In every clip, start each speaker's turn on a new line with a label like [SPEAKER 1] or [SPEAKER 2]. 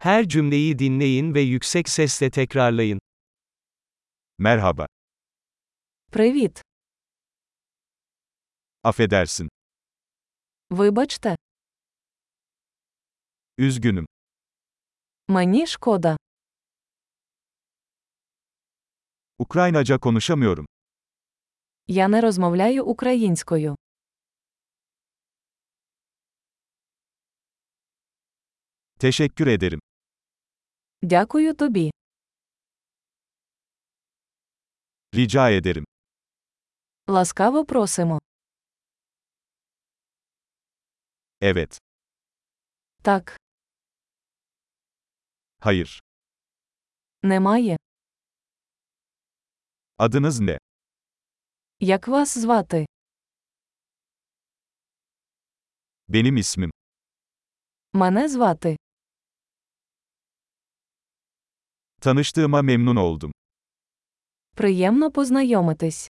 [SPEAKER 1] Her cümleyi dinleyin ve yüksek sesle tekrarlayın.
[SPEAKER 2] Merhaba.
[SPEAKER 3] Привіт.
[SPEAKER 2] Affedersin.
[SPEAKER 3] Вибачте,
[SPEAKER 2] Üzgünüm.
[SPEAKER 3] мені шкода.
[SPEAKER 2] Ukraynaca konuşamıyorum.
[SPEAKER 3] Я не розмовляю українською.
[SPEAKER 2] Teşekkür ederim.
[SPEAKER 3] Дякую тобі.
[SPEAKER 2] Rica ederim.
[SPEAKER 3] Ласкаво просимо.
[SPEAKER 2] Evet.
[SPEAKER 3] Так,
[SPEAKER 2] Hayır.
[SPEAKER 3] немає.
[SPEAKER 2] Adınız ne?
[SPEAKER 3] Як вас звати?
[SPEAKER 2] Benim ismim.
[SPEAKER 3] Мене звати.
[SPEAKER 2] Tanıştığıma memnun oldum.
[SPEAKER 3] Приємно познайомитись.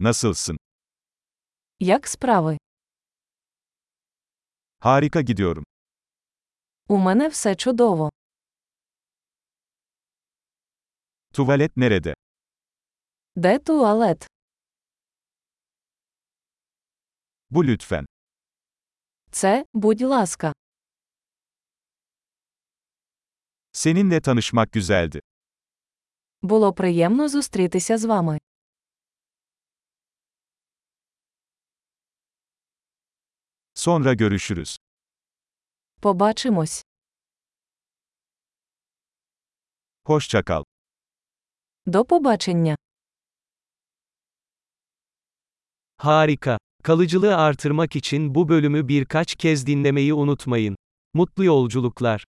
[SPEAKER 2] Nasılsın?
[SPEAKER 3] Як справи?
[SPEAKER 2] Harika gidiyorum.
[SPEAKER 3] У мене все чудово.
[SPEAKER 2] Tuvalet nerede?
[SPEAKER 3] Де туалет?
[SPEAKER 2] Bu lütfen.
[SPEAKER 3] Це, будь ласка.
[SPEAKER 2] Seninle tanışmak güzeldi.
[SPEAKER 3] Було приємно зустрітися з вами.
[SPEAKER 2] Sonra görüşürüz.
[SPEAKER 3] Побачимось.
[SPEAKER 2] Hoşça kal.
[SPEAKER 3] До побачення.
[SPEAKER 1] Harika. Kalıcılığı artırmak için bu bölümü birkaç kez dinlemeyi unutmayın. Mutlu yolculuklar.